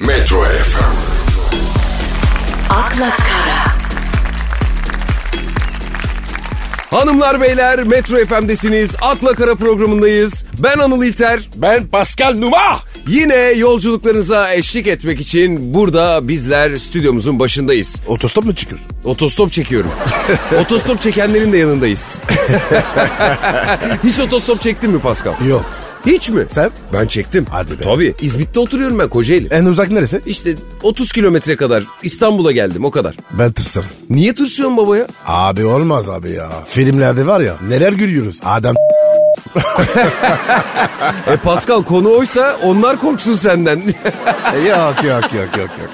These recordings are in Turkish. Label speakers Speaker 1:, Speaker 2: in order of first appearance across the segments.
Speaker 1: Metro FM,
Speaker 2: akla kara,
Speaker 3: Hanımlar beyler Metro FM'desiniz. Akla Kara programındayız. Ben Anıl İlter.
Speaker 4: Ben Pascal Numa.
Speaker 3: Yine yolculuklarınıza eşlik etmek için burada bizler stüdyomuzun başındayız.
Speaker 4: Otostop mu çıkıyor?
Speaker 3: Otostop çekiyorum. otostop çekenlerin de yanındayız. Hiç otostop çektin mi Pascal?
Speaker 4: Yok.
Speaker 3: Hiç mi?
Speaker 4: Sen?
Speaker 3: Ben çektim.
Speaker 4: Hadi be.
Speaker 3: Tabii. İzmit'te oturuyorum ben Kocaeli.
Speaker 4: En uzak neresi?
Speaker 3: İşte 30 kilometre kadar İstanbul'a geldim o kadar.
Speaker 4: Ben tırsarım.
Speaker 3: Niye tırsıyorsun babaya?
Speaker 4: Abi olmaz abi ya. Filmlerde var ya neler görüyoruz. Adam
Speaker 3: E Pascal konu oysa onlar korksun senden.
Speaker 4: E, yok yok yok yok yok.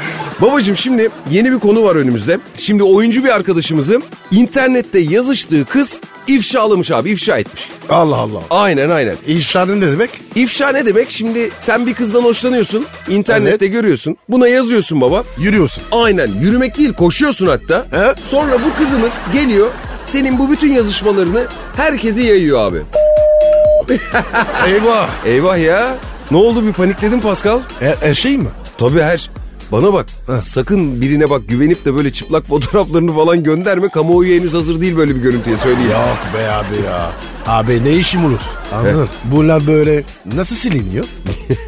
Speaker 3: Babacım şimdi yeni bir konu var önümüzde. Şimdi oyuncu bir arkadaşımızın internette yazıştığı kız ifşalamış abi ifşa etmiş.
Speaker 4: Allah Allah.
Speaker 3: Aynen aynen.
Speaker 4: İnşaatın ne demek?
Speaker 3: İfşa ne demek? Şimdi sen bir kızdan hoşlanıyorsun. internette görüyorsun. Buna yazıyorsun baba.
Speaker 4: Yürüyorsun.
Speaker 3: Aynen yürümek değil koşuyorsun hatta.
Speaker 4: He?
Speaker 3: Sonra bu kızımız geliyor senin bu bütün yazışmalarını herkese yayıyor abi.
Speaker 4: Eyvah.
Speaker 3: Eyvah ya. Ne oldu bir panikledin Pascal?
Speaker 4: E, e, şey mi?
Speaker 3: Tabii her. Bana bak. Sakın birine bak güvenip de böyle çıplak fotoğraflarını falan gönderme. Kamuoyu henüz hazır değil böyle bir görüntüye söyleyeyim.
Speaker 4: Yok be abi ya. Abi ne işim olur? Anladın? Bunlar böyle nasıl siliniyor?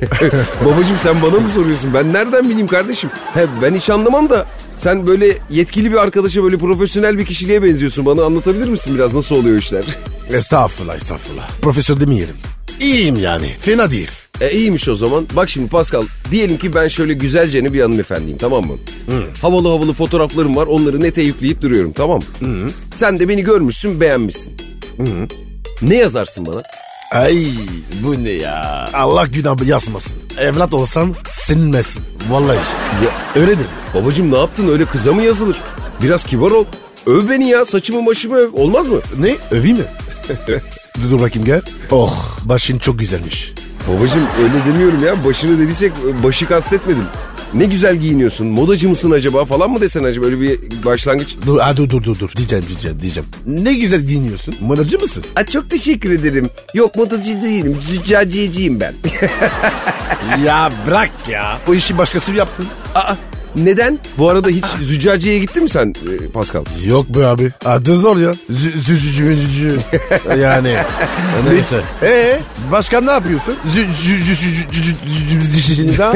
Speaker 3: Babacım sen bana mı soruyorsun? Ben nereden bileyim kardeşim? He, ben hiç anlamam da sen böyle yetkili bir arkadaşa böyle profesyonel bir kişiliğe benziyorsun. Bana anlatabilir misin biraz nasıl oluyor işler?
Speaker 4: Estağfurullah estağfurullah. Profesör demeyelim. İyiyim yani. Fena değil.
Speaker 3: E iyiymiş o zaman. Bak şimdi Pascal diyelim ki ben şöyle güzelceni bir hanımefendiyim tamam mı? Havalı havalı fotoğraflarım var onları nete yükleyip duruyorum tamam mı? Sen de beni görmüşsün beğenmişsin. Ne yazarsın bana?
Speaker 4: Ay bu ne ya? Allah günah yazmasın. Evlat olsan sinmesin. Vallahi.
Speaker 3: Ya
Speaker 4: Öyle değil.
Speaker 3: babacım ne yaptın öyle kıza mı yazılır? Biraz kibar ol. Öv beni ya saçımı başımı öv olmaz mı?
Speaker 4: Ne? Öveyim mi? dur, dur bakayım gel. Oh başın çok güzelmiş.
Speaker 3: Babacım öyle demiyorum ya başını dediysek başı kastetmedim. Ne güzel giyiniyorsun modacı mısın acaba falan mı desen acaba öyle bir başlangıç.
Speaker 4: Dur, ha, dur dur dur dur. Diyeceğim diyeceğim diyeceğim. Ne güzel giyiniyorsun. Modacı mısın?
Speaker 3: A, çok teşekkür ederim. Yok modacı değilim züccaciyeciyim ben.
Speaker 4: ya bırak ya. O işi başkası yapsın.
Speaker 3: Aa, neden? Bu arada hiç züccaciye gittin mi sen e, Pascal?
Speaker 4: Yok be abi. Adı zor ya. Zü- Zücücü mücücü. yani. Neyse. Ee, başkan ne yapıyorsun? Zücücü daha.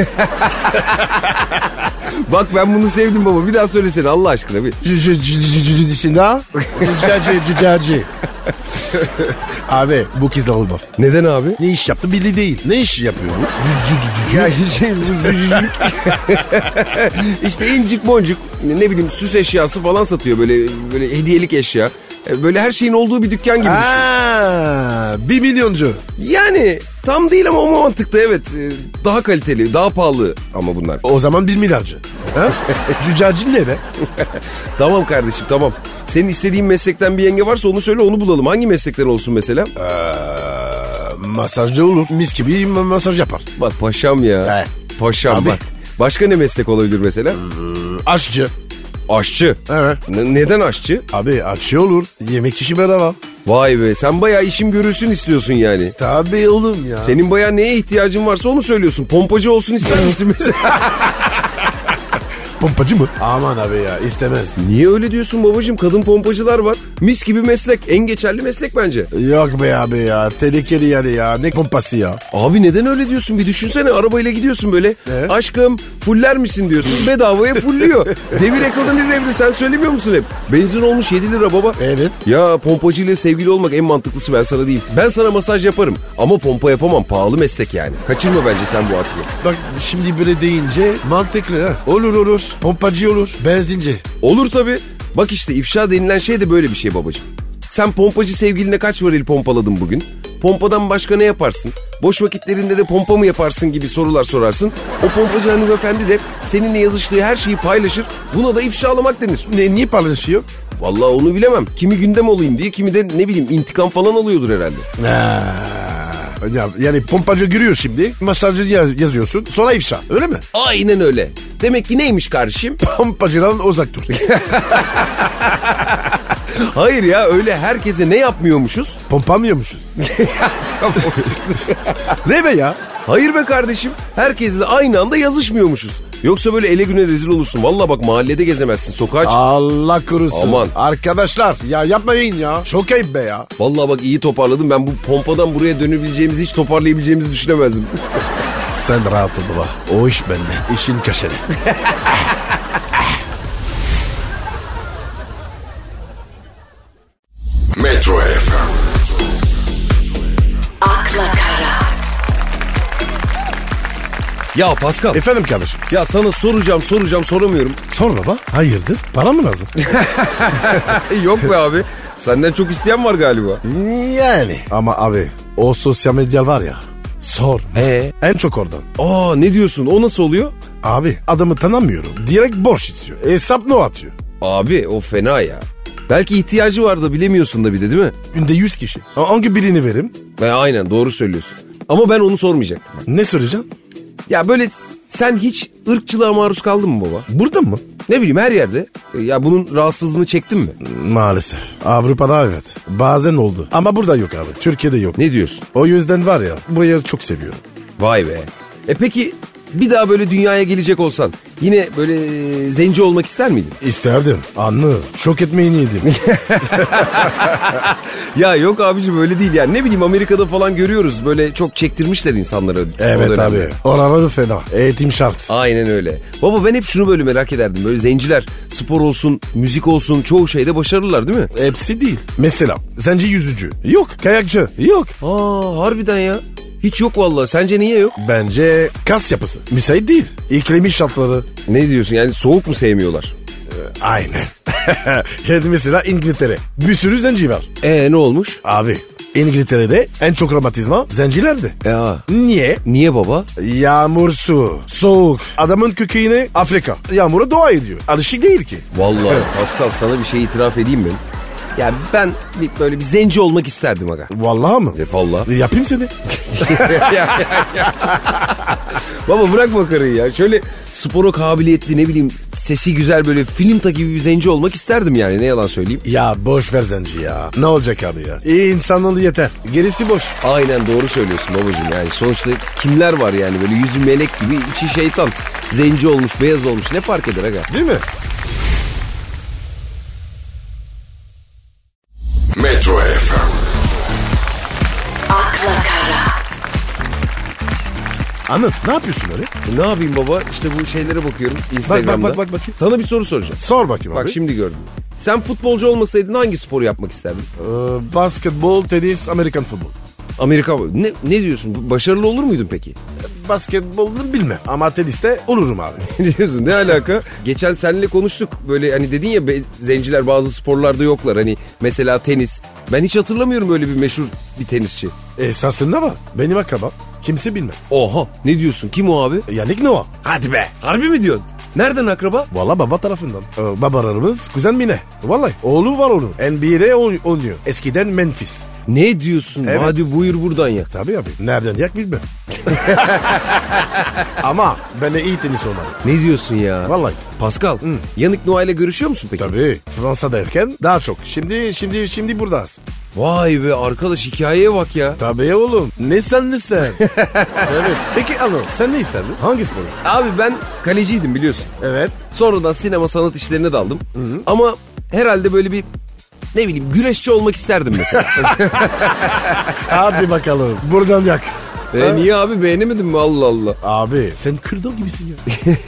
Speaker 3: Bak ben bunu sevdim baba. Bir daha söylesene Allah aşkına bir.
Speaker 4: dışında cücacı cücacı. Abi bu kızla olmaz.
Speaker 3: Neden abi?
Speaker 4: Ne iş yaptı belli değil. Ne iş yapıyor bu?
Speaker 3: Ya şey züccacılık. işte incik boncuk ne bileyim süs eşyası falan satıyor böyle böyle hediyelik eşya. E, Böyle her şeyin olduğu bir dükkan gibi düşün.
Speaker 4: Aa, bir milyoncu.
Speaker 3: Yani tam değil ama o mantıkta evet. E, Daha kaliteli, daha pahalı ama bunlar.
Speaker 4: O zaman bir milyarcı. Ha? cücacı ne be?
Speaker 3: Tamam kardeşim tamam. Senin istediğin meslekten bir yenge varsa onu söyle onu bulalım. Hangi meslekler olsun mesela?
Speaker 4: Ee, masajcı olur. Mis gibi masaj yapar.
Speaker 3: Bak paşam ya.
Speaker 4: He.
Speaker 3: Paşam
Speaker 4: Tabii. Hmm.
Speaker 3: bak. Başka ne meslek olabilir mesela?
Speaker 4: Aşçı.
Speaker 3: Aşçı.
Speaker 4: Evet.
Speaker 3: N- neden aşçı?
Speaker 4: Abi aşçı olur. Yemek işi bedava.
Speaker 3: Vay be sen bayağı işim görülsün istiyorsun yani.
Speaker 4: Tabii oğlum ya.
Speaker 3: Senin bayağı neye ihtiyacın varsa onu söylüyorsun. Pompacı olsun ister misin mesela?
Speaker 4: pompacı mı? Aman abi ya istemez.
Speaker 3: Niye öyle diyorsun babacığım? Kadın pompacılar var. Mis gibi meslek. En geçerli meslek bence.
Speaker 4: Yok be abi ya. Tehlikeli yani ya. Ne pompası ya?
Speaker 3: Abi neden öyle diyorsun? Bir düşünsene arabayla gidiyorsun böyle.
Speaker 4: Evet.
Speaker 3: Aşkım fuller misin diyorsun. Bedavaya fulluyor. Devir ekonomi devri sen söylemiyor musun hep? Benzin olmuş 7 lira baba.
Speaker 4: Evet.
Speaker 3: Ya pompacıyla sevgili olmak en mantıklısı ben sana diyeyim. Ben sana masaj yaparım ama pompa yapamam. Pahalı meslek yani. Kaçırma bence sen bu hatırı.
Speaker 4: Bak şimdi böyle deyince mantıklı ha. Olur olur. Pompacı olur. Benzinci.
Speaker 3: Olur tabii. Bak işte ifşa denilen şey de böyle bir şey babacığım. Sen pompacı sevgiline kaç varil pompaladın bugün? Pompadan başka ne yaparsın? Boş vakitlerinde de pompa mı yaparsın gibi sorular sorarsın. O pompacı hanımefendi de seninle yazıştığı her şeyi paylaşır. Buna da ifşalamak denir.
Speaker 4: Ne, niye paylaşıyor?
Speaker 3: Vallahi onu bilemem. Kimi gündem olayım diye kimi de ne bileyim intikam falan alıyordur herhalde.
Speaker 4: Ya, yani pompacı giriyor şimdi. Masajcı yaz- yazıyorsun. Sonra ifşa. Öyle mi?
Speaker 3: Aynen öyle. Demek ki neymiş kardeşim?
Speaker 4: Pompacıdan uzak dur.
Speaker 3: Hayır ya öyle herkese ne yapmıyormuşuz?
Speaker 4: Pompamıyormuşuz. ne be ya?
Speaker 3: Hayır be kardeşim. Herkesle aynı anda yazışmıyormuşuz. Yoksa böyle ele güne rezil olursun. Valla bak mahallede gezemezsin. Sokağa çık.
Speaker 4: Allah korusun.
Speaker 3: Aman.
Speaker 4: Arkadaşlar ya yapmayın ya. Çok ayıp be ya.
Speaker 3: Valla bak iyi toparladım. Ben bu pompadan buraya dönebileceğimizi hiç toparlayabileceğimizi düşünemezdim.
Speaker 4: Sen rahat ol baba. O iş bende. İşin kaşeri.
Speaker 1: Metro FM,
Speaker 2: akla kara,
Speaker 3: ya Pascal.
Speaker 4: Efendim kardeşim.
Speaker 3: Ya sana soracağım soracağım soramıyorum.
Speaker 4: Sor baba. Hayırdır? Para mı lazım?
Speaker 3: Yok be abi. Senden çok isteyen var galiba.
Speaker 4: yani. Ama abi o sosyal medya var ya. Sor.
Speaker 3: Ee?
Speaker 4: En çok oradan.
Speaker 3: Aa ne diyorsun? O nasıl oluyor?
Speaker 4: Abi adamı tanımıyorum. Direkt borç istiyor. Hesap ne atıyor?
Speaker 3: Abi o fena ya. Belki ihtiyacı var da bilemiyorsun da bir de değil mi?
Speaker 4: Günde 100 kişi. Ha, Hangi birini verim?
Speaker 3: E, aynen doğru söylüyorsun. Ama ben onu sormayacaktım.
Speaker 4: Ne söyleyeceksin?
Speaker 3: Ya böyle s- sen hiç ırkçılığa maruz kaldın mı baba?
Speaker 4: Burada mı?
Speaker 3: Ne bileyim her yerde. E, Ya bunun rahatsızlığını çektin mi?
Speaker 4: Maalesef. Avrupa'da evet. Bazen oldu. Ama burada yok abi. Türkiye'de yok.
Speaker 3: Ne diyorsun?
Speaker 4: O yüzden var ya burayı çok seviyorum.
Speaker 3: Vay be. E peki bir daha böyle dünyaya gelecek olsan yine böyle e, zenci olmak ister miydin?
Speaker 4: İsterdim. Anlı. Şok etmeyi yedim.
Speaker 3: Ya yok abicim öyle değil yani. Ne bileyim Amerika'da falan görüyoruz. Böyle çok çektirmişler insanlara. o
Speaker 4: evet
Speaker 3: dönemde.
Speaker 4: abi. Oraları fena. Eğitim şart.
Speaker 3: Aynen öyle. Baba ben hep şunu böyle merak ederdim. Böyle zenciler spor olsun, müzik olsun çoğu şeyde başarılılar değil mi?
Speaker 4: Hepsi değil. Mesela zenci yüzücü. Yok. Kayakçı. Yok.
Speaker 3: Aa harbiden ya. Hiç yok vallahi. Sence niye yok?
Speaker 4: Bence kas yapısı. Müsait değil. İklimi şartları.
Speaker 3: Ne diyorsun yani soğuk mu sevmiyorlar?
Speaker 4: Aynen. Yani mesela İngiltere. Bir sürü zenci var.
Speaker 3: E ne olmuş?
Speaker 4: Abi İngiltere'de en çok romatizma zencilerde.
Speaker 3: Ya
Speaker 4: Niye?
Speaker 3: E, niye baba?
Speaker 4: Yağmur su, soğuk. Adamın kökü yine Afrika. Yağmura dua ediyor. Alışık değil ki.
Speaker 3: Vallahi Pascal sana bir şey itiraf edeyim mi? Ya ben bir- böyle bir zenci olmak isterdim aga.
Speaker 4: Vallahi mı?
Speaker 3: E vallahi.
Speaker 4: Yapayım seni.
Speaker 3: Baba bırak makarayı ya. Şöyle spora kabiliyetli ne bileyim sesi güzel böyle film ta gibi bir zenci olmak isterdim yani ne yalan söyleyeyim.
Speaker 4: Ya boş ver zenci ya. Ne olacak abi ya? İyi insanlığı yeter. Gerisi boş.
Speaker 3: Aynen doğru söylüyorsun babacığım yani sonuçta kimler var yani böyle yüzü melek gibi içi şeytan. Zenci olmuş beyaz olmuş ne fark eder aga.
Speaker 4: Değil mi?
Speaker 1: Metro FM,
Speaker 2: akla kara,
Speaker 4: Anıl ne yapıyorsun öyle?
Speaker 3: E, Ne yapayım baba işte bu şeylere bakıyorum
Speaker 4: Bak bak
Speaker 3: Instagram'da.
Speaker 4: bak bak bakayım.
Speaker 3: Sana bir soru soracağım.
Speaker 4: Sor bakayım
Speaker 3: Bak
Speaker 4: abi.
Speaker 3: şimdi gördüm. Sen futbolcu olmasaydın hangi sporu yapmak isterdin?
Speaker 4: Ee, basketbol, tenis, Amerikan futbol.
Speaker 3: Amerika ne, ne diyorsun? Başarılı olur muydun peki?
Speaker 4: Basketbolunu bilmem ama teniste olurum abi.
Speaker 3: ne diyorsun? Ne alaka? Geçen seninle konuştuk. Böyle hani dedin ya be- zenciler bazı sporlarda yoklar. Hani mesela tenis. Ben hiç hatırlamıyorum öyle bir meşhur bir tenisçi.
Speaker 4: Esasında var. Benim akrabam. Kimse E, bilmez.
Speaker 3: Oha ne diyorsun? Kim o abi?
Speaker 4: Yannick Noah.
Speaker 3: Hadi be. Harbi mi diyorsun? Nereden akraba?
Speaker 4: Valla baba tarafından. Ee, babalarımız kuzen Mine. Vallahi oğlu var onun. NBA'de oy- oynuyor. Eskiden Memphis.
Speaker 3: Ne diyorsun?
Speaker 4: Evet.
Speaker 3: Hadi buyur buradan ya.
Speaker 4: Tabii abi. Nereden yak bilmem. Ama ben de iyi tenis oynarım.
Speaker 3: Ne diyorsun ya?
Speaker 4: Vallahi.
Speaker 3: Pascal, Yanık Noah ile görüşüyor musun peki?
Speaker 4: Tabii. Fransa derken daha çok. Şimdi şimdi şimdi buradayız.
Speaker 3: Vay be arkadaş hikayeye bak ya.
Speaker 4: Tabii oğlum. Ne sen ne sen. evet. Peki Anıl sen ne isterdin? Hangi sporu?
Speaker 3: Abi ben kaleciydim biliyorsun.
Speaker 4: Evet.
Speaker 3: Sonradan sinema sanat işlerine daldım. Ama herhalde böyle bir ne bileyim güreşçi olmak isterdim mesela.
Speaker 4: Hadi bakalım. Buradan yak.
Speaker 3: e, niye abi beğenemedin mi Allah Allah. E,
Speaker 4: Abi sen Kürdal gibisin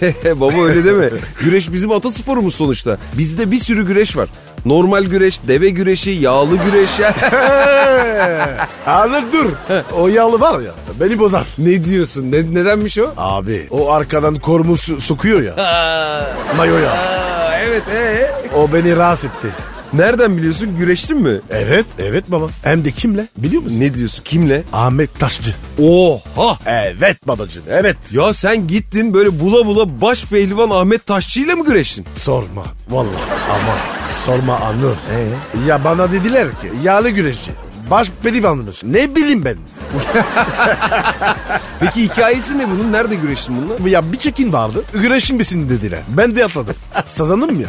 Speaker 4: ya.
Speaker 3: Baba öyle deme. Güreş bizim atasporumuz sonuçta. Bizde bir sürü güreş var. Normal güreş, deve güreşi, yağlı güreş.
Speaker 4: Anıl dur. o yağlı var ya beni bozar.
Speaker 3: ne diyorsun? Ne, nedenmiş o?
Speaker 4: Abi o arkadan korumu su- sokuyor ya.
Speaker 3: Aa,
Speaker 4: Mayoya.
Speaker 3: aa, evet ee?
Speaker 4: O beni rahatsız etti.
Speaker 3: Nereden biliyorsun? Güreştin mi?
Speaker 4: Evet evet baba. Hem de kimle biliyor musun?
Speaker 3: Ne diyorsun? Kimle?
Speaker 4: Ahmet Taşçı.
Speaker 3: Oha!
Speaker 4: Evet babacığım evet.
Speaker 3: Ya sen gittin böyle bula bula baş pehlivan Ahmet Taşçı ile mi güreştin?
Speaker 4: Sorma vallahi ama sorma Anıl.
Speaker 3: Ee?
Speaker 4: Ya bana dediler ki yağlı güreşçi. Baş pelivanmış. Ne bileyim ben.
Speaker 3: Peki hikayesi ne bunun? Nerede güreştin bununla?
Speaker 4: Ya bir çekin vardı. Güreşin misin dediler. Ben de atladım. Sazanım ya.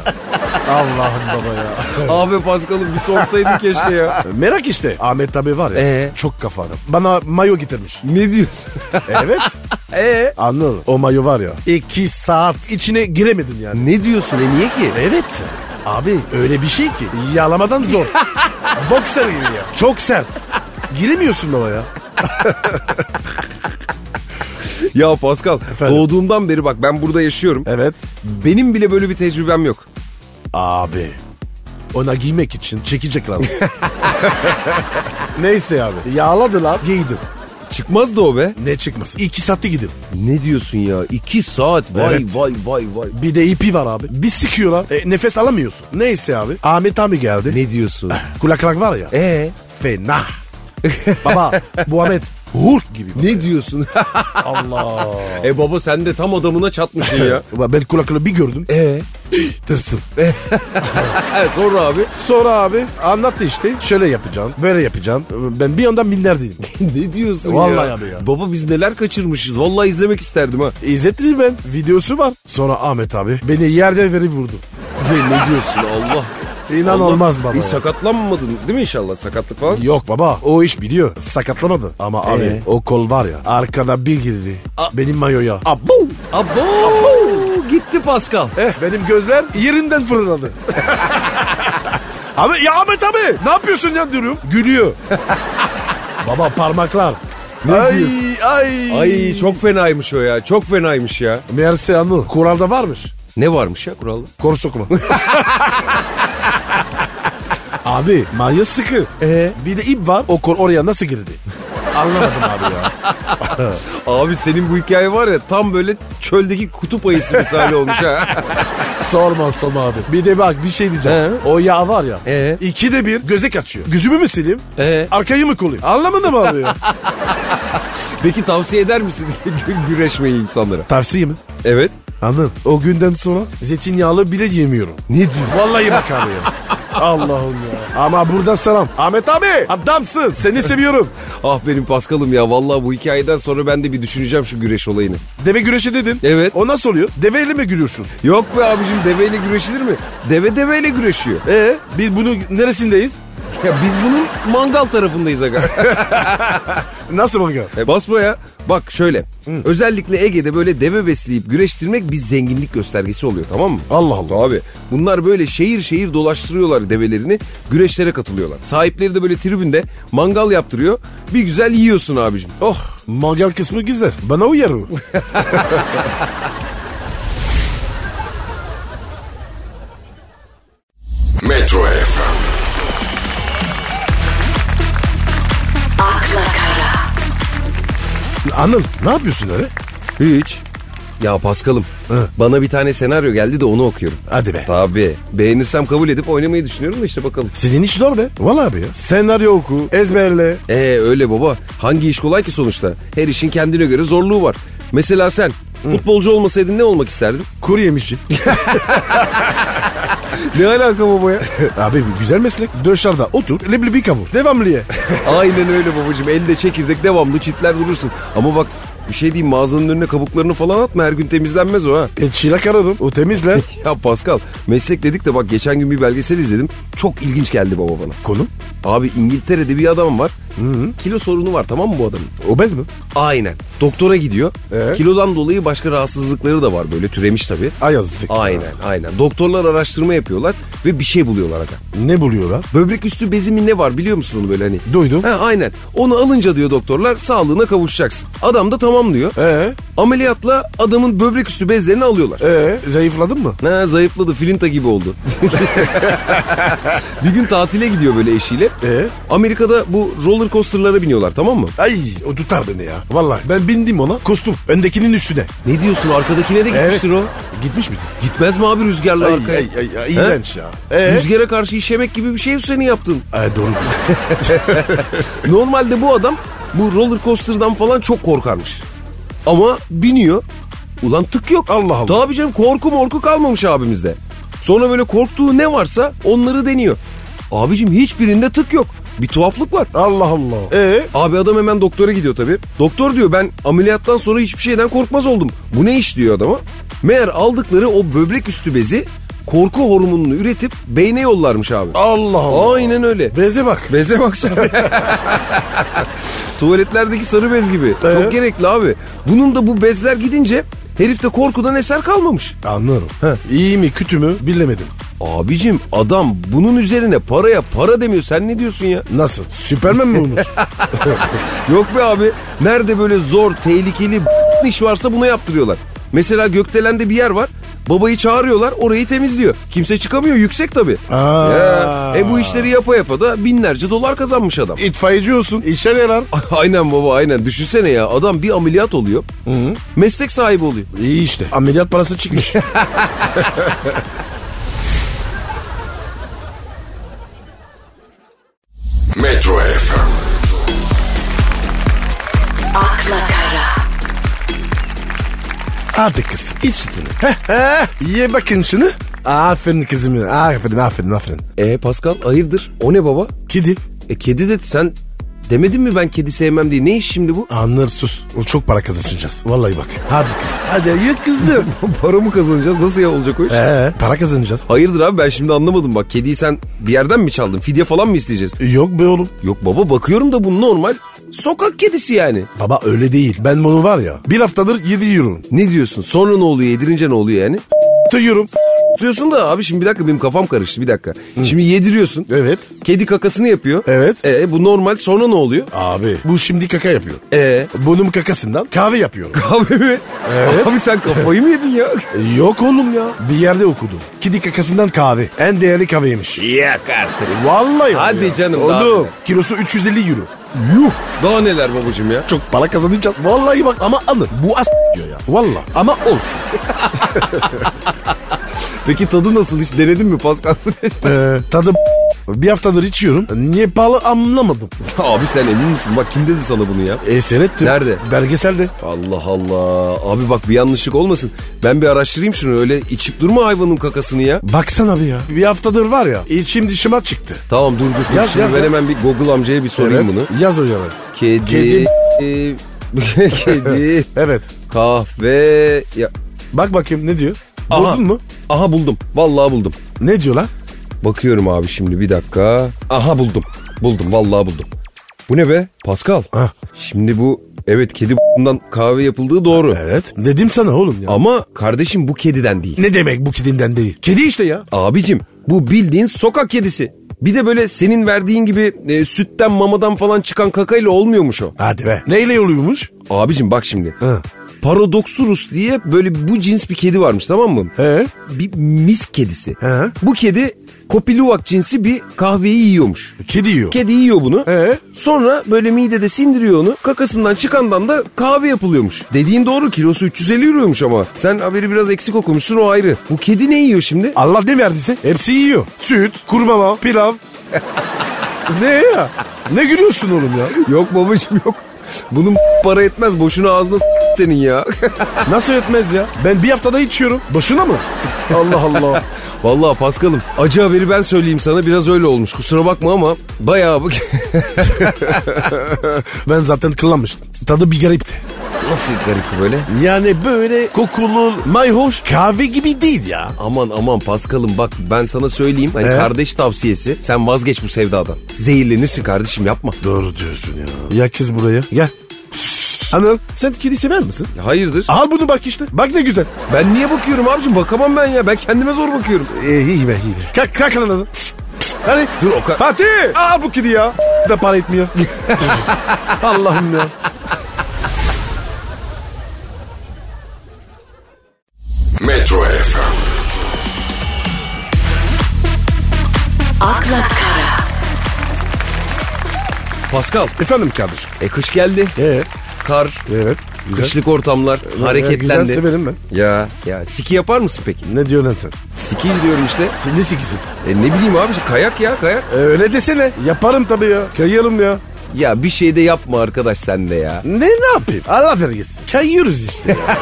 Speaker 4: Allah'ım baba ya.
Speaker 3: Abi Paskal'ım bir sorsaydın keşke ya.
Speaker 4: Merak işte. Ahmet abi var ya.
Speaker 3: Ee?
Speaker 4: Çok kafa adam. Bana mayo getirmiş.
Speaker 3: Ne diyorsun? E,
Speaker 4: Evet.
Speaker 3: Eee?
Speaker 4: Anıl o mayo var ya. İki saat içine giremedin yani.
Speaker 3: Ne diyorsun e niye ki?
Speaker 4: Evet. Abi öyle bir şey ki yalamadan zor. Boksör gibi ya. Çok sert. Giremiyorsun baba ya.
Speaker 3: Ya Pascal
Speaker 4: Efendim?
Speaker 3: doğduğumdan beri bak ben burada yaşıyorum. E,
Speaker 4: Evet.
Speaker 3: Benim bile böyle bir tecrübem yok.
Speaker 4: Abi. Ona giymek için çekecek lazım. Neyse abi. Yağladılar. Giydim.
Speaker 3: Çıkmaz da o be.
Speaker 4: Ne çıkmasın? İki saatte gidip.
Speaker 3: Ne diyorsun ya? İki saat vay
Speaker 4: Evet.
Speaker 3: vay vay vay.
Speaker 4: Bir de ipi var abi. Bir sikiyorlar. E, nefes alamıyorsun. Neyse abi. Ahmet abi geldi.
Speaker 3: Ne diyorsun?
Speaker 4: Kulaklık var ya.
Speaker 3: Ee
Speaker 4: Fena. Baba bu Ahmet Hulk gibi.
Speaker 3: ne diyorsun?
Speaker 4: Allah.
Speaker 3: e baba sen de tam adamına çatmışsın ya.
Speaker 4: Ben kulaklığı bir gördüm. E,
Speaker 3: Ee
Speaker 4: Tırsım. E.
Speaker 3: He, E, sonra abi.
Speaker 4: Sonra abi anlattı işte. Şöyle yapacaksın. Böyle yapacaksın. Ben bir yandan binler dedim.
Speaker 3: ne diyorsun ya?
Speaker 4: Vallahi abi ya.
Speaker 3: Baba biz neler kaçırmışız. Vallahi izlemek isterdim ha.
Speaker 4: İzlettim ben. Videosu var. Sonra Ahmet abi beni yerden verip vurdu.
Speaker 3: Ne, E, ne diyorsun Allah.
Speaker 4: İnanılmaz baba
Speaker 3: E,
Speaker 4: ya.
Speaker 3: sakatlanmadın değil mi inşallah sakatlık falan?
Speaker 4: Yok baba o iş biliyor. Sakatlamadı. Ama abi
Speaker 3: Ee?
Speaker 4: o kol var ya arkada bir girdi.
Speaker 3: A-
Speaker 4: benim mayoya.
Speaker 3: Abo. Abo. Gitti Pascal.
Speaker 4: Eh benim gözler yerinden fırladı. abi ya Ahmet abi ne yapıyorsun ya diyorum. Gülüyor. baba parmaklar.
Speaker 3: Ne
Speaker 4: ay,
Speaker 3: diyorsun?
Speaker 4: ay.
Speaker 3: Ay çok fenaymış o ya. Çok fenaymış ya.
Speaker 4: Meğerse Anıl kuralda varmış.
Speaker 3: Ne varmış ya kuralda?
Speaker 4: Kor sokma. abi maya sıkı.
Speaker 3: Ee?
Speaker 4: Bir de ip var. O kor oraya nasıl girdi? Anlamadım abi ya.
Speaker 3: Abi senin bu hikaye var ya tam böyle çöldeki kutup ayısı misali olmuş ha.
Speaker 4: Sorma sorma abi. Bir de bak bir şey diyeceğim.
Speaker 3: He.
Speaker 4: O yağ var ya.
Speaker 3: Ee?
Speaker 4: İki de bir göze kaçıyor. Gözümü mü sileyim?
Speaker 3: Ee?
Speaker 4: Arkayı mı kolayım? Anlamadım abi ya.
Speaker 3: Peki tavsiye eder misin gü- güreşmeyi insanlara?
Speaker 4: Tavsiye mi?
Speaker 3: Evet.
Speaker 4: Anladım. O günden sonra zeytinyağlı bile yemiyorum.
Speaker 3: Ne diyor?
Speaker 4: Vallahi bak abi ya. Allah'ım ya. Ama buradan selam. Ahmet abi adamsın. Seni seviyorum.
Speaker 3: Ah benim Paskal'ım ya vallahi bu hikayeden sonra ben de bir düşüneceğim şu güreş olayını.
Speaker 4: Deve güreşi dedin.
Speaker 3: Evet.
Speaker 4: O nasıl oluyor? Deveyle mi gülüyorsun?
Speaker 3: Yok be abicim deveyle güreşilir mi? Deve deveyle güreşiyor.
Speaker 4: Ee, biz bunun neresindeyiz?
Speaker 3: Ya biz bunun mangal tarafındayız aga.
Speaker 4: Nasıl bakıyor?
Speaker 3: E basma ya. Bak şöyle. Özellikle Ege'de böyle deve besleyip güreştirmek bir zenginlik göstergesi oluyor tamam mı?
Speaker 4: Allah Allah.
Speaker 3: Abi bunlar böyle şehir şehir dolaştırıyorlar develerini. Güreşlere katılıyorlar. Sahipleri de böyle tribünde mangal yaptırıyor. Bir güzel yiyorsun abicim.
Speaker 4: Oh mangal kısmı güzel. Bana uyar mı?
Speaker 1: Metro FM,
Speaker 2: akla kara,
Speaker 4: Anıl ne yapıyorsun öyle?
Speaker 3: Hiç. Ya Paskal'ım
Speaker 4: Hı.
Speaker 3: bana bir tane senaryo geldi de onu okuyorum.
Speaker 4: Hadi be.
Speaker 3: Tabii. Beğenirsem kabul edip oynamayı düşünüyorum da işte bakalım.
Speaker 4: Sizin iş zor be. Vallahi abi ya. Senaryo oku, ezberle.
Speaker 3: Ee öyle baba. Hangi iş kolay ki sonuçta? Her işin kendine göre zorluğu var. Mesela sen futbolcu olmasaydın ne olmak isterdin?
Speaker 4: Kuru yemişçi.
Speaker 3: Ne alaka baba ya?
Speaker 4: abi güzel meslek. Döşarda otur, leblebi kavur. Devamlı ye.
Speaker 3: Aynen öyle babacığım. Elde çekirdek devamlı çitler durursun. Ama bak bir şey diyeyim mağazanın önüne kabuklarını falan atma her gün temizlenmez o ha.
Speaker 4: e, çilek ararım, o temizler.
Speaker 3: Ya Pascal meslek dedik de bak geçen gün bir belgesel izledim. Çok ilginç geldi baba bana.
Speaker 4: Konu?
Speaker 3: Abi İngiltere'de bir adam var. Kilo sorunu var tamam mı bu adamın?
Speaker 4: Obez mi?
Speaker 3: Aynen. Doktora gidiyor.
Speaker 4: Ee?
Speaker 3: Kilodan dolayı başka rahatsızlıkları da var böyle türemiş tabii.
Speaker 4: Ay yazık.
Speaker 3: Aynen aynen. Doktorlar araştırma yapıyorlar ve bir şey buluyorlar aga.
Speaker 4: Ne buluyorlar?
Speaker 3: Böbrek üstü bezi mi ne var biliyor musun onu böyle hani?
Speaker 4: Duydum.
Speaker 3: Ha, aynen. Onu alınca diyor doktorlar sağlığına kavuşacaksın. Adam da tamam diyor.
Speaker 4: Ee,
Speaker 3: Ameliyatla adamın böbrek üstü bezlerini alıyorlar.
Speaker 4: ee, zayıfladın mı?
Speaker 3: Ha, zayıfladı filinta gibi oldu. bir gün tatile gidiyor böyle eşiyle.
Speaker 4: Ee?
Speaker 3: Amerika'da bu roller coaster'lara biniyorlar tamam mı?
Speaker 4: Ay o tutar beni ya. Vallahi ben bindim ona. Kostum öndekinin üstüne.
Speaker 3: Ne diyorsun arkadakine de gitmiştir o.
Speaker 4: Gitmiş miydi?
Speaker 3: Gitmez mi abi rüzgarla
Speaker 4: Ay,
Speaker 3: arkaya?
Speaker 4: ay, ay, ay,
Speaker 3: Ha?
Speaker 4: iğrenç ya. Ee?
Speaker 3: Rüzgara karşı işemek gibi bir şey seni yaptın.
Speaker 4: Ay, doğru diyor.
Speaker 3: Normalde bu adam bu roller coaster'dan falan çok korkarmış. Ama biniyor. Ulan tık yok.
Speaker 4: Allah Allah.
Speaker 3: Tabii canım korku morku kalmamış abimizde. Sonra böyle korktuğu ne varsa onları deniyor. Abicim hiçbirinde tık yok. Bir tuhaflık var.
Speaker 4: Allah Allah. Ee?
Speaker 3: Abi adam hemen doktora gidiyor tabii. Doktor diyor ben ameliyattan sonra hiçbir şeyden korkmaz oldum. Bu ne iş diyor adama. Meğer aldıkları o böbrek üstü bezi korku hormonunu üretip beyne yollarmış abi.
Speaker 4: Allah Allah.
Speaker 3: Aynen öyle.
Speaker 4: Beze bak.
Speaker 3: Beze bak sen. Tuvaletlerdeki sarı bez gibi. Çok
Speaker 4: Evet.
Speaker 3: gerekli abi. Bunun da bu bezler gidince herifte korkudan eser kalmamış.
Speaker 4: Anlarım. Ha. İyi mi kötü mü bilemedim.
Speaker 3: Abicim adam bunun üzerine paraya para demiyor. Sen ne diyorsun ya?
Speaker 4: Nasıl? Süpermen mi olmuş?
Speaker 3: Yok be abi. Nerede böyle zor, tehlikeli iş varsa buna yaptırıyorlar. Mesela Gökdelen'de bir yer var. Babayı çağırıyorlar orayı temizliyor. Kimse çıkamıyor yüksek tabii.
Speaker 4: Aa.
Speaker 3: Ya, e bu işleri yapa yapa da binlerce dolar kazanmış adam.
Speaker 4: İtfaiyeci olsun. İşe yarar.
Speaker 3: aynen baba aynen düşünsene ya adam bir ameliyat oluyor. Meslek sahibi oluyor.
Speaker 4: İyi işte. Ameliyat parası çıkmış.
Speaker 1: Metro FM,
Speaker 2: akla kara,
Speaker 4: Hadi kızım iç sütünü. Heh, heh. Ye bakın şunu. Aferin kızım. Aferin aferin aferin.
Speaker 3: E Pascal hayırdır o ne baba?
Speaker 4: Kedi.
Speaker 3: E kedi de sen demedin mi ben kedi sevmem diye ne iş şimdi bu?
Speaker 4: Anlar sus. O çok para kazanacağız. Vallahi bak. Hadi kız. Hadi ye kızım.
Speaker 3: Para mı kazanacağız nasıl ya olacak o iş?
Speaker 4: Ee, para kazanacağız.
Speaker 3: Hayırdır abi ben şimdi anlamadım bak kediyi sen bir yerden mi çaldın fidye falan mı isteyeceğiz?
Speaker 4: Yok be oğlum.
Speaker 3: Yok baba bakıyorum da bu normal sokak kedisi yani.
Speaker 4: Baba öyle değil. Ben bunu var ya bir haftadır yediyorum.
Speaker 3: Ne diyorsun sonra ne oluyor yedirince ne oluyor yani?
Speaker 4: Tutuyorum.
Speaker 3: Tutuyorsun da abi şimdi bir dakika benim kafam karıştı bir dakika. Şimdi yediriyorsun.
Speaker 4: Evet.
Speaker 3: Kedi kakasını yapıyor.
Speaker 4: Evet.
Speaker 3: E bu normal sonra ne oluyor?
Speaker 4: Abi bu şimdi kaka yapıyor. Ee,
Speaker 3: E
Speaker 4: Bunun kakasından kahve yapıyorum.
Speaker 3: abi mi?
Speaker 4: Evet.
Speaker 3: Abi sen kafayı mı yedin ya?
Speaker 4: Yok oğlum ya. Bir yerde okudum. Kedi kakasından kahve. En değerli kahveymiş.
Speaker 3: Yak artık.
Speaker 4: Vallahi
Speaker 3: Hadi
Speaker 4: ya.
Speaker 3: canım, daha
Speaker 4: Oğlum
Speaker 3: neler.
Speaker 4: kilosu 350 euro. Yuh.
Speaker 3: Daha neler babacığım ya?
Speaker 4: Çok para kazanacağız. Vallahi bak ama alın. Bu as diyor ya. Vallahi ama olsun.
Speaker 3: Peki tadı nasıl hiç denedin mi Pascal?
Speaker 4: Ee, tadı bir haftadır içiyorum. Niye pahalı anlamadım.
Speaker 3: abi sen emin misin? Bak kim dedi sana bunu ya?
Speaker 4: E seyrettim.
Speaker 3: Nerede?
Speaker 4: Belgeselde.
Speaker 3: Allah Allah. Abi bak bir yanlışlık olmasın. Ben bir araştırayım şunu öyle içip durma hayvanın kakasını ya.
Speaker 4: Baksana bir ya. Bir haftadır var ya içim dışıma çıktı.
Speaker 3: Tamam dur dur.
Speaker 4: Yaz,
Speaker 3: Şimdi
Speaker 4: yaz,
Speaker 3: ben
Speaker 4: yaz.
Speaker 3: hemen bir Google amcaya bir sorayım bunu.
Speaker 4: Yaz hocam.
Speaker 3: Kedi.
Speaker 4: Kedi.
Speaker 3: Kedi.
Speaker 4: Evet.
Speaker 3: kahve. Ya.
Speaker 4: Bak bakayım ne diyor?
Speaker 3: Aha.
Speaker 4: Buldun mu?
Speaker 3: Aha buldum. Vallahi buldum.
Speaker 4: Ne diyor lan?
Speaker 3: Bakıyorum abi şimdi bir dakika. Aha buldum. Buldum vallahi buldum. Bu ne be Pascal?
Speaker 4: Ha.
Speaker 3: Şimdi bu evet kedi bundan kahve yapıldığı doğru.
Speaker 4: Evet. Dedim sana oğlum ya.
Speaker 3: Ama kardeşim bu kediden değil.
Speaker 4: Ne demek bu kedinden değil? Kedi işte ya.
Speaker 3: Abicim bu bildiğin sokak kedisi. Bir de böyle senin verdiğin gibi e, sütten mamadan falan çıkan kakayla olmuyormuş o.
Speaker 4: Hadi be. Neyle oluyormuş?
Speaker 3: Abicim bak şimdi.
Speaker 4: Hı.
Speaker 3: Paradoxurus diye böyle bu cins bir kedi varmış tamam mı?
Speaker 4: He.
Speaker 3: Bir mis kedisi.
Speaker 4: Hı.
Speaker 3: Bu kedi Kopiluwak cinsi bir kahveyi yiyormuş.
Speaker 4: Kedi yiyor.
Speaker 3: Kedi yiyor bunu.
Speaker 4: Ee?
Speaker 3: Sonra böyle midede sindiriyor onu. Kakasından çıkandan da kahve yapılıyormuş. Dediğin doğru kilosu 350 euroymuş ama. Sen haberi biraz eksik okumuşsun o ayrı. Bu kedi ne yiyor şimdi?
Speaker 4: Allah ne verdiyse hepsi yiyor. Süt, kurbağa, pilav. ne ya? Ne gülüyorsun oğlum ya?
Speaker 3: Yok babacığım yok. Bunun para etmez boşuna ağzına s- senin ya.
Speaker 4: Nasıl etmez ya? Ben bir haftada içiyorum. Boşuna mı? Allah Allah.
Speaker 3: Vallahi Paskal'ım acı haberi ben söyleyeyim sana biraz öyle olmuş. Kusura bakma ama bayağı bak.
Speaker 4: Ben zaten kullanmıştım. Tadı bir garipti.
Speaker 3: Nasıl garipti böyle?
Speaker 4: Yani böyle kokulu, mayhoş kahve gibi değil ya.
Speaker 3: Aman aman Paskal'ım bak ben sana söyleyeyim. Hani
Speaker 4: Ee?
Speaker 3: kardeş tavsiyesi sen vazgeç bu sevdadan. Zehirlenirsin kardeşim yapma.
Speaker 4: Doğru diyorsun ya. Ya kız buraya gel. Anıl sen kedi sever misin?
Speaker 3: Hayırdır?
Speaker 4: Al bunu bak işte. Bak ne güzel.
Speaker 3: Ben niye bakıyorum abicim? Bakamam ben ya. Ben kendime zor bakıyorum. E,
Speaker 4: Ee, iyi be iyi be. Kalk kalk lan adam. Hadi.
Speaker 3: Dur o kadar.
Speaker 4: Fatih. Al bu kedi ya. da para etmiyor. Allah'ım ya.
Speaker 1: Metro FM,
Speaker 2: akla kara,
Speaker 3: Pascal.
Speaker 4: Efendim kardeşim.
Speaker 3: E kış geldi.
Speaker 4: Ee,
Speaker 3: Kar.
Speaker 4: evet. Güzel.
Speaker 3: Kışlık ortamlar.
Speaker 4: Güzel
Speaker 3: hareketlendi.
Speaker 4: severim ben.
Speaker 3: ya ya siki yapar mısın peki?
Speaker 4: Ne diyorsun lan sen?
Speaker 3: Siki diyorum işte.
Speaker 4: Sen ne sikisin?
Speaker 3: E ne bileyim abi kayak ya kayak.
Speaker 4: Ee, öyle desene. Yaparım tabii ya. Kayarım ya.
Speaker 3: Ya bir şey de yapma arkadaş sen de ya.
Speaker 4: Ne ne yapayım? Allah vergisi. Kayıyoruz işte ya.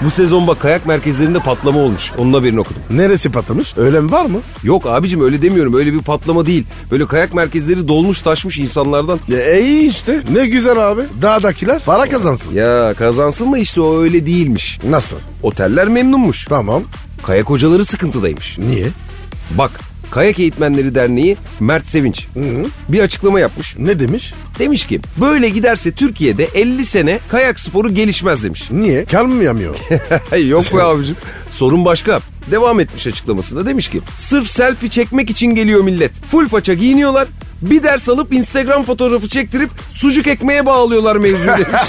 Speaker 3: Bu sezon bak kayak merkezlerinde patlama olmuş. Onun haberini okudum.
Speaker 4: Neresi patlamış? Ölen var mı?
Speaker 3: Yok abicim öyle demiyorum. Öyle bir patlama değil. Böyle kayak merkezleri dolmuş taşmış insanlardan.
Speaker 4: E, iyi işte. Ne güzel abi. Dağdakiler para kazansın.
Speaker 3: Ya kazansın da işte o öyle değilmiş.
Speaker 4: Nasıl?
Speaker 3: Oteller memnunmuş.
Speaker 4: Tamam.
Speaker 3: Kayak hocaları sıkıntıdaymış.
Speaker 4: Niye?
Speaker 3: Bak Kayak Eğitmenleri Derneği Mert Sevinç bir açıklama yapmış.
Speaker 4: Ne demiş?
Speaker 3: Demiş ki böyle giderse Türkiye'de 50 sene kayak sporu gelişmez demiş.
Speaker 4: Niye? Kar mı yamıyor?
Speaker 3: Yok be abicim. Sorun başka. Devam etmiş açıklamasında demiş ki sırf selfie çekmek için geliyor millet. Full faça giyiniyorlar. Bir ders alıp Instagram fotoğrafı çektirip sucuk ekmeğe bağlıyorlar mevzuyu demiş.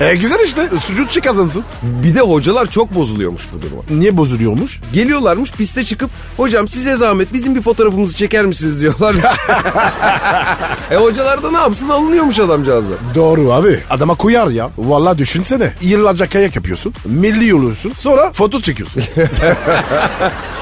Speaker 4: e güzel işte. Sucukçu kazansın.
Speaker 3: bir de hocalar çok bozuluyormuş bu duruma.
Speaker 4: Niye bozuluyormuş?
Speaker 3: Geliyorlarmış piste çıkıp hocam size zahmet bizim bir fotoğrafımızı çeker misiniz diyorlarmış. e hocalar da ne yapsın alınıyormuş adamcağızlar.
Speaker 4: Doğru abi. Adama koyar ya. Vallahi düşünsene. Yıllarca kayak yapıyorsun. Milli oluyorsun. Sonra foto çekiyorsun.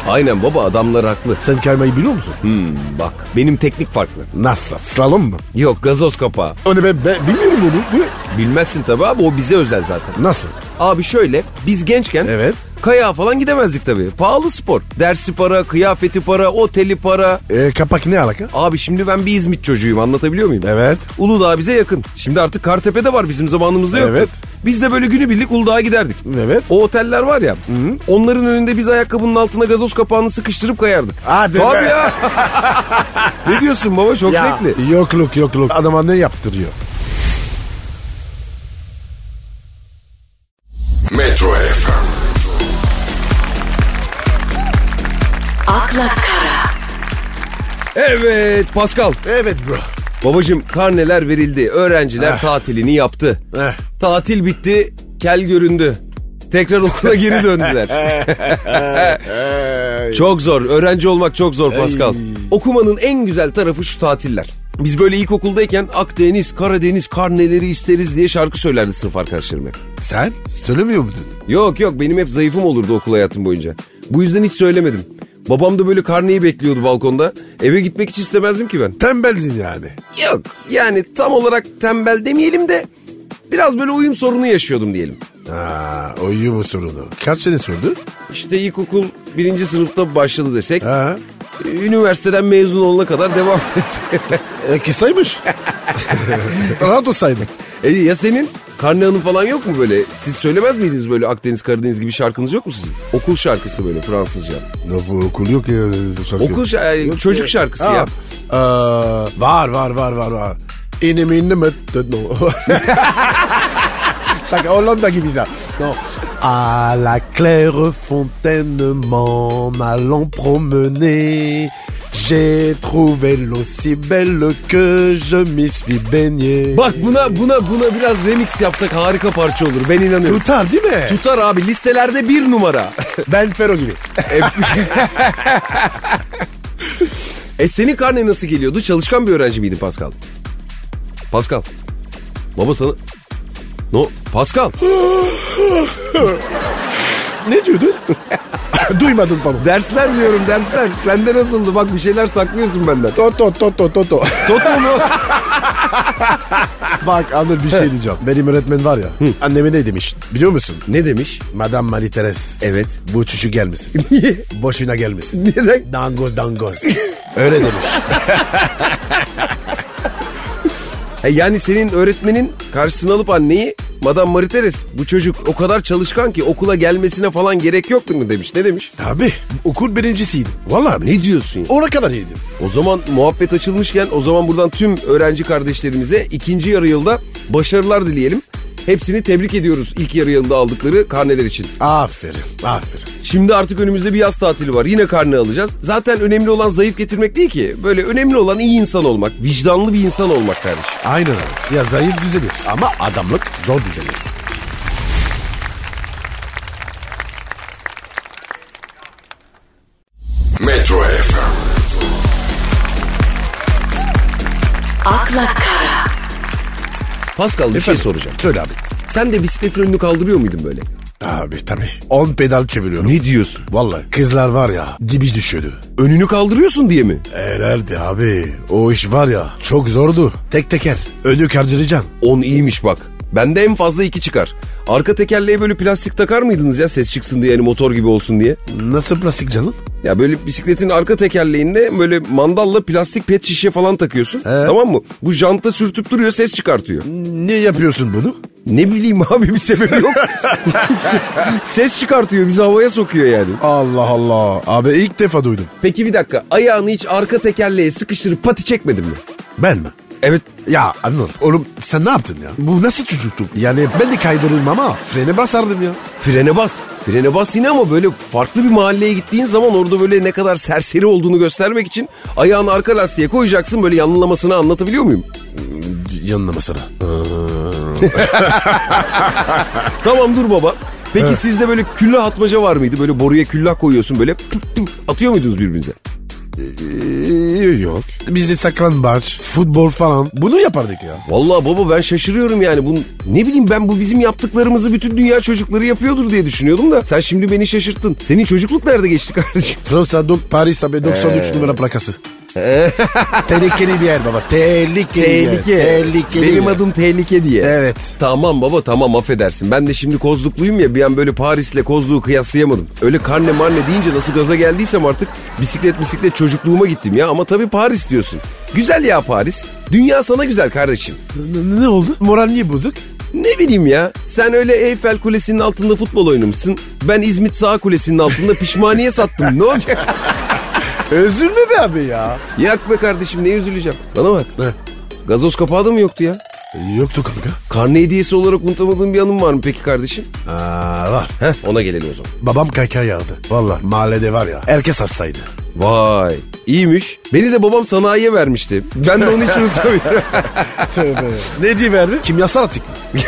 Speaker 3: Aynen baba adamlar haklı.
Speaker 4: Sen kaymayı biliyor musun?
Speaker 3: Hmm, bak benim teknik farklı.
Speaker 4: Nasıl? Slalom mu?
Speaker 3: Yok gazoz kapağı.
Speaker 4: Onu ben, ben bilmiyorum onu. Bu ne?
Speaker 3: Bilmezsin tabii abi o bize özel zaten.
Speaker 4: Nasıl?
Speaker 3: Abi şöyle biz gençken
Speaker 4: Evet.
Speaker 3: kayağa falan gidemezdik tabii. Pahalı spor. Dersi para, kıyafeti para, oteli para.
Speaker 4: E, kapak ne alaka?
Speaker 3: Abi şimdi ben bir İzmit çocuğuyum anlatabiliyor muyum?
Speaker 4: Evet.
Speaker 3: Uludağ bize yakın. Şimdi artık Kartepe'de var bizim zamanımızda yok.
Speaker 4: Evet.
Speaker 3: Biz de böyle günübirlik Uludağ'a giderdik.
Speaker 4: Evet.
Speaker 3: O oteller var ya. Onların önünde biz ayakkabının altına gazoz kapağını sıkıştırıp kayardık.
Speaker 4: Hadi
Speaker 3: Tabii
Speaker 4: be.
Speaker 3: ya. ne diyorsun baba çok zevkli.
Speaker 4: Yokluk yokluk. Adama ne yaptırıyor?
Speaker 1: Metro FM,
Speaker 2: akla kara,
Speaker 3: Evet Pascal.
Speaker 4: Evet bro.
Speaker 3: Babacım karneler verildi. Öğrenciler tatilini yaptı.
Speaker 4: Eh.
Speaker 3: Tatil bitti. Kel göründü. Tekrar okula geri döndüler.
Speaker 4: Ee,
Speaker 3: çok zor. Öğrenci olmak çok zor Pascal. Okumanın en güzel tarafı şu tatiller. Biz böyle ilkokuldayken Akdeniz, Karadeniz karneleri isteriz diye şarkı söylerdi sınıf arkadaşlarım hep.
Speaker 4: Sen söylemiyor muydun?
Speaker 3: Yok yok benim hep zayıfım olurdu okul hayatım boyunca. Bu yüzden hiç söylemedim. Babam da böyle karneyi bekliyordu balkonda. Eve gitmek hiç istemezdim ki ben.
Speaker 4: Tembeldin yani.
Speaker 3: Yok yani tam olarak tembel demeyelim de biraz böyle uyum sorunu yaşıyordum diyelim.
Speaker 4: Ha, uyumu sorunu. Kaç sene sürdü?
Speaker 3: İşte ilkokul birinci sınıfta başladı desek
Speaker 4: Ha.
Speaker 3: üniversiteden mezun olana kadar devam etti.
Speaker 4: E, kısaymış. Rahat olsaydın.
Speaker 3: e, ya senin? Karne Hanım falan yok mu böyle? Siz söylemez miydiniz böyle Akdeniz Karadeniz gibi şarkınız yok mu sizin? Okul şarkısı böyle Fransızca.
Speaker 4: No, bu okul yok ya. şarkı
Speaker 3: Okul
Speaker 4: yok.
Speaker 3: şa- yani çocuk şarkısı
Speaker 4: Ha,
Speaker 3: ya.
Speaker 4: e, var var var var var. İnim inim et- et- no. Şaka Hollanda gibi ya. No. À la claire fontaine m'en allant promener J'ai trouvé l'eau si belle que je m'y suis baigné
Speaker 3: Bak buna buna buna biraz remix yapsak harika parça olur. Ben inanıyorum.
Speaker 4: Tutar değil mi?
Speaker 3: Tutar abi listelerde bir numara.
Speaker 4: Ben Fero gibi.
Speaker 3: E senin karne nasıl geliyordu? Çalışkan bir öğrenci miydin Pascal? Pascal. Baba sana... No, Pascal.
Speaker 4: Ne diyordun? Duymadım pardon.
Speaker 3: dersler diyorum dersler. Sende nasıldı? Bak bir şeyler saklıyorsun benden.
Speaker 4: Toto toto toto.
Speaker 3: Toto mu?
Speaker 4: Bak Anıl bir şey diyeceğim. Benim öğretmen var ya. Anneme ne demiş biliyor musun?
Speaker 3: ne demiş?
Speaker 4: Madame Marie Therese.
Speaker 3: Evet.
Speaker 4: Bu çocuk gelmesin. Boşuna gelmesin.
Speaker 3: Neden?
Speaker 4: Dangoz dangoz. Öyle demiş.
Speaker 3: E yani senin öğretmenin karşısına alıp anneyi Madame Marie Therese, bu çocuk o kadar çalışkan ki okula gelmesine falan gerek yoktu mu demiş. Ne demiş?
Speaker 4: Abi okul birincisiydim. Vallahi abi.
Speaker 3: Ne diyorsun ya?
Speaker 4: Ona kadar yedim.
Speaker 3: O zaman muhabbet açılmışken o zaman buradan tüm öğrenci kardeşlerimize ikinci yarı yılda başarılar dileyelim. Hepsini tebrik ediyoruz ilk yarı yılda aldıkları karneler için.
Speaker 4: Aferin aferin.
Speaker 3: Şimdi artık önümüzde bir yaz tatili var. Yine karne alacağız. Zaten önemli olan zayıf getirmek değil ki. Böyle önemli olan iyi insan olmak, vicdanlı bir insan olmak kardeşim.
Speaker 4: Aynen abi. Ya zayıf düzelir ama adamlık zor düzelir.
Speaker 1: Metro FM,
Speaker 2: akla kara,
Speaker 3: Pascal bir şey
Speaker 4: Efendim?
Speaker 3: soracağım.
Speaker 4: Söyle abi.
Speaker 3: Sen de bisikletin önünü kaldırıyor muydun böyle?
Speaker 4: Abi tabii. 10 pedal çeviriyorum.
Speaker 3: Ne diyorsun?
Speaker 4: Vallahi kızlar var ya dibi düşüyordu.
Speaker 3: Önünü kaldırıyorsun diye mi?
Speaker 4: Herhalde abi. O iş var ya çok zordu. Tek teker. Önü karcılayacaksın.
Speaker 3: 10 iyiymiş bak. Bende en fazla iki çıkar. Arka tekerleğe böyle plastik takar mıydınız ya ses çıksın diye yani motor gibi olsun diye?
Speaker 4: Nasıl plastik canım?
Speaker 3: Ya böyle bisikletin arka tekerleğinde böyle mandalla plastik pet şişe falan takıyorsun. Tamam mı? Bu janta sürtüp duruyor ses çıkartıyor.
Speaker 4: Niye yapıyorsun bunu?
Speaker 3: Ne bileyim abi bir sebebi yok. ses çıkartıyor bizi havaya sokuyor yani.
Speaker 4: Allah Allah. Abi ilk defa duydum.
Speaker 3: Peki bir dakika ayağını hiç arka tekerleğe sıkıştırıp pati çekmedin mi?
Speaker 4: Ben mi?
Speaker 3: Evet
Speaker 4: Ya Anıl oğlum sen ne yaptın ya? Bu nasıl çocuktu? Yani ben de kaydırırım ama frene basardım ya.
Speaker 3: frene bas. Frene bas yine ama böyle farklı bir mahalleye gittiğin zaman orada böyle ne kadar serseri olduğunu göstermek için ayağını arka lastiğe koyacaksın böyle yanılamasını anlatabiliyor muyum?
Speaker 4: Yanına masana.
Speaker 3: Tamam dur baba. Peki sizde böyle küllah atmaca var mıydı? Böyle boruya küllah koyuyorsun böyle pıt pıt atıyor muydunuz birbirinize?
Speaker 4: Ee, e, yok. Biz de saklambaç, futbol falan bunu yapardık ya.
Speaker 3: Vallahi baba ben şaşırıyorum yani. Bu, ne bileyim ben bu bizim yaptıklarımızı bütün dünya çocukları yapıyordur diye düşünüyordum da. Sen şimdi beni şaşırttın. Senin çocukluk nerede geçti kardeşim?
Speaker 4: Fransa, Dok, Paris abi 93 numara plakası. Ee. tehlikeli bir yer baba. Tehlikeli. bir yer. Tehlikeli.
Speaker 3: Benim
Speaker 4: bir yer.
Speaker 3: adım tehlike diye.
Speaker 4: Evet.
Speaker 3: Tamam baba tamam affedersin. Ben de şimdi Kozlukluyum ya bir an böyle Paris'le Kozluğu kıyaslayamadım. Öyle karne marne deyince nasıl gaza geldiysem artık bisiklet bisiklet çocukluğuma gittim ya. Ama tabii Paris diyorsun. Güzel ya Paris. Dünya sana güzel kardeşim.
Speaker 4: Ne oldu? Moral niye bozuk?
Speaker 3: Ne bileyim ya sen öyle Eyfel Kulesi'nin altında futbol oynamışsın. Ben İzmit Sağ Kulesi'nin altında pişmaniye sattım. Ne olacak?
Speaker 4: Üzülme be abi ya.
Speaker 3: Yak be kardeşim ne üzüleceğim. Bana bak.
Speaker 4: Ne?
Speaker 3: Gazoz kapağı da mı yoktu ya?
Speaker 4: Yoktu kanka.
Speaker 3: Karne hediyesi olarak unutamadığın bir anım var mı peki kardeşim?
Speaker 4: Aa, var.
Speaker 3: Heh ona gelelim o zaman.
Speaker 4: Babam kayka yağdı. Valla mahallede var ya. Herkes hastaydı.
Speaker 3: Vay iyiymiş. Beni de babam sanayiye vermişti. Ben de onu hiç unutamıyorum.
Speaker 4: ne diye verdi? Kimyasal atık mı?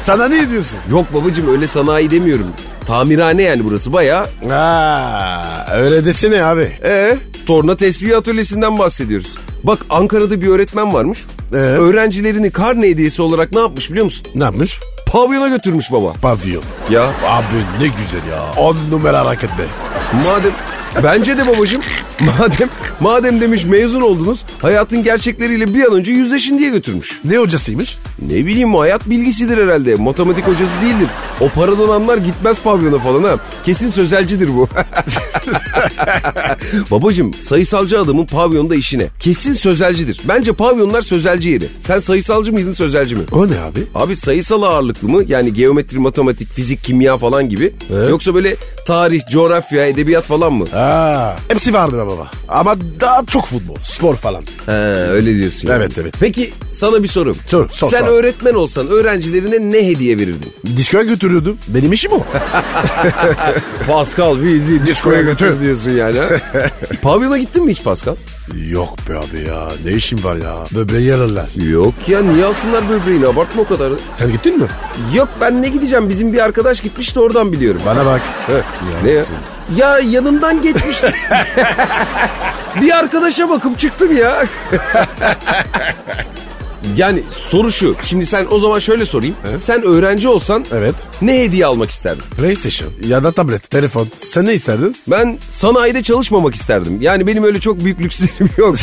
Speaker 4: Sana ne diyorsun?
Speaker 3: Yok babacım öyle sanayi demiyorum. Tamirhane yani burası bayağı
Speaker 4: Aa, öyle desene abi. Ee?
Speaker 3: torna tesviye atölyesinden bahsediyoruz. Bak Ankara'da bir öğretmen varmış.
Speaker 4: Ee?
Speaker 3: Öğrencilerini karne hediyesi olarak ne yapmış biliyor musun?
Speaker 4: Ne yapmış?
Speaker 3: Pavyona götürmüş baba.
Speaker 4: Pavyon.
Speaker 3: Ya
Speaker 4: Abi ne güzel ya. On numara hareket be.
Speaker 3: madem bence de babacım madem madem demiş mezun oldunuz hayatın gerçekleriyle bir an önce yüzleşin diye götürmüş.
Speaker 4: Ne hocasıymış?
Speaker 3: Ne bileyim hayat bilgisidir herhalde. Matematik hocası değildir. O paradan anlar gitmez pavyona falan ha. Kesin sözelcidir bu. Babacım sayısalcı adamın pavyonda işine. Kesin sözelcidir. Bence pavyonlar sözelci yeri. Sen sayısalcı mıydın sözelci mi?
Speaker 4: O ne abi?
Speaker 3: Abi sayısal ağırlıklı mı? Yani geometri, matematik, fizik, kimya falan gibi. Yoksa böyle tarih, coğrafya, edebiyat falan mı?
Speaker 4: Aa, hepsi vardı be baba. Ama daha çok futbol, spor falan.
Speaker 3: He, öyle diyorsun. yani.
Speaker 4: Evet, evet.
Speaker 3: Peki sana bir sorum.
Speaker 4: Sor, sor,
Speaker 3: Sen
Speaker 4: sor.
Speaker 3: öğretmen olsan öğrencilerine ne hediye verirdin?
Speaker 4: Diskoya götürüyordum. Benim işim o.
Speaker 3: Pascal bizi diskoya götür diyorsun yani. ha? Pavyona gittin mi hiç Pascal?
Speaker 4: Yok be abi ya. Ne işim var ya? Böbreği yararlar.
Speaker 3: Yok ya niye alsınlar böbreğini abartma o kadar.
Speaker 4: Sen gittin mi?
Speaker 3: Yok ben ne gideceğim bizim bir arkadaş gitmiş de oradan biliyorum.
Speaker 4: Bana bak.
Speaker 3: Heh, ne ya?
Speaker 4: Yalnızsın.
Speaker 3: Ya yanından geçmiştim. bir arkadaşa bakıp çıktım ya. yani soru şu. Şimdi sen o zaman şöyle sorayım. Sen öğrenci olsan
Speaker 4: Evet.
Speaker 3: ne hediye almak isterdin?
Speaker 4: PlayStation ya da tablet, telefon. Sen ne isterdin?
Speaker 3: Ben sanayide çalışmamak isterdim. Yani benim öyle çok büyük lükslerim yok.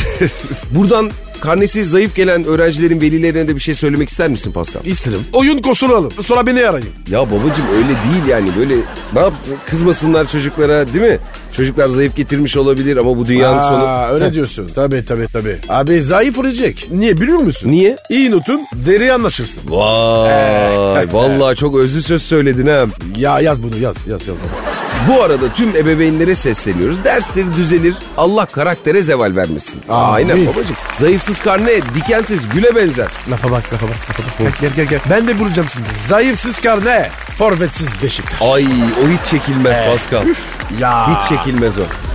Speaker 3: Buradan karnesi zayıf gelen öğrencilerin velilerine de bir şey söylemek ister misin Pascal?
Speaker 4: İsterim. Oyun koşulalım. Sonra beni arayın.
Speaker 3: Ya babacım öyle değil yani böyle ne yap kızmasınlar çocuklara değil mi? Çocuklar zayıf getirmiş olabilir ama bu dünyanın
Speaker 4: Aa,
Speaker 3: sonu.
Speaker 4: öyle diyorsun. Tabii tabii tabii. Abi zayıf olacak. Niye biliyor musun?
Speaker 3: Niye?
Speaker 4: İyi notun deriye anlaşırsın.
Speaker 3: Vay vallahi çok özlü söz söyledin ha.
Speaker 4: Ya yaz bunu yaz yaz yaz baba.
Speaker 3: Bu arada tüm ebeveynlere sesleniyoruz. Dersleri düzelir. Allah karaktere zeval vermesin.
Speaker 4: Amin.
Speaker 3: Aynen babacım. Zayıfsız karne dikensiz güle benzer.
Speaker 4: Lafa bak lafa bak lafa bak. Gel, gel gel gel. Ben de bulacağım şimdi. Zayıfsız karne. Forvetsiz Beşiktaş.
Speaker 3: Ay o hiç çekilmez Pascal.
Speaker 4: Ya.
Speaker 3: Hiç çekilmez o.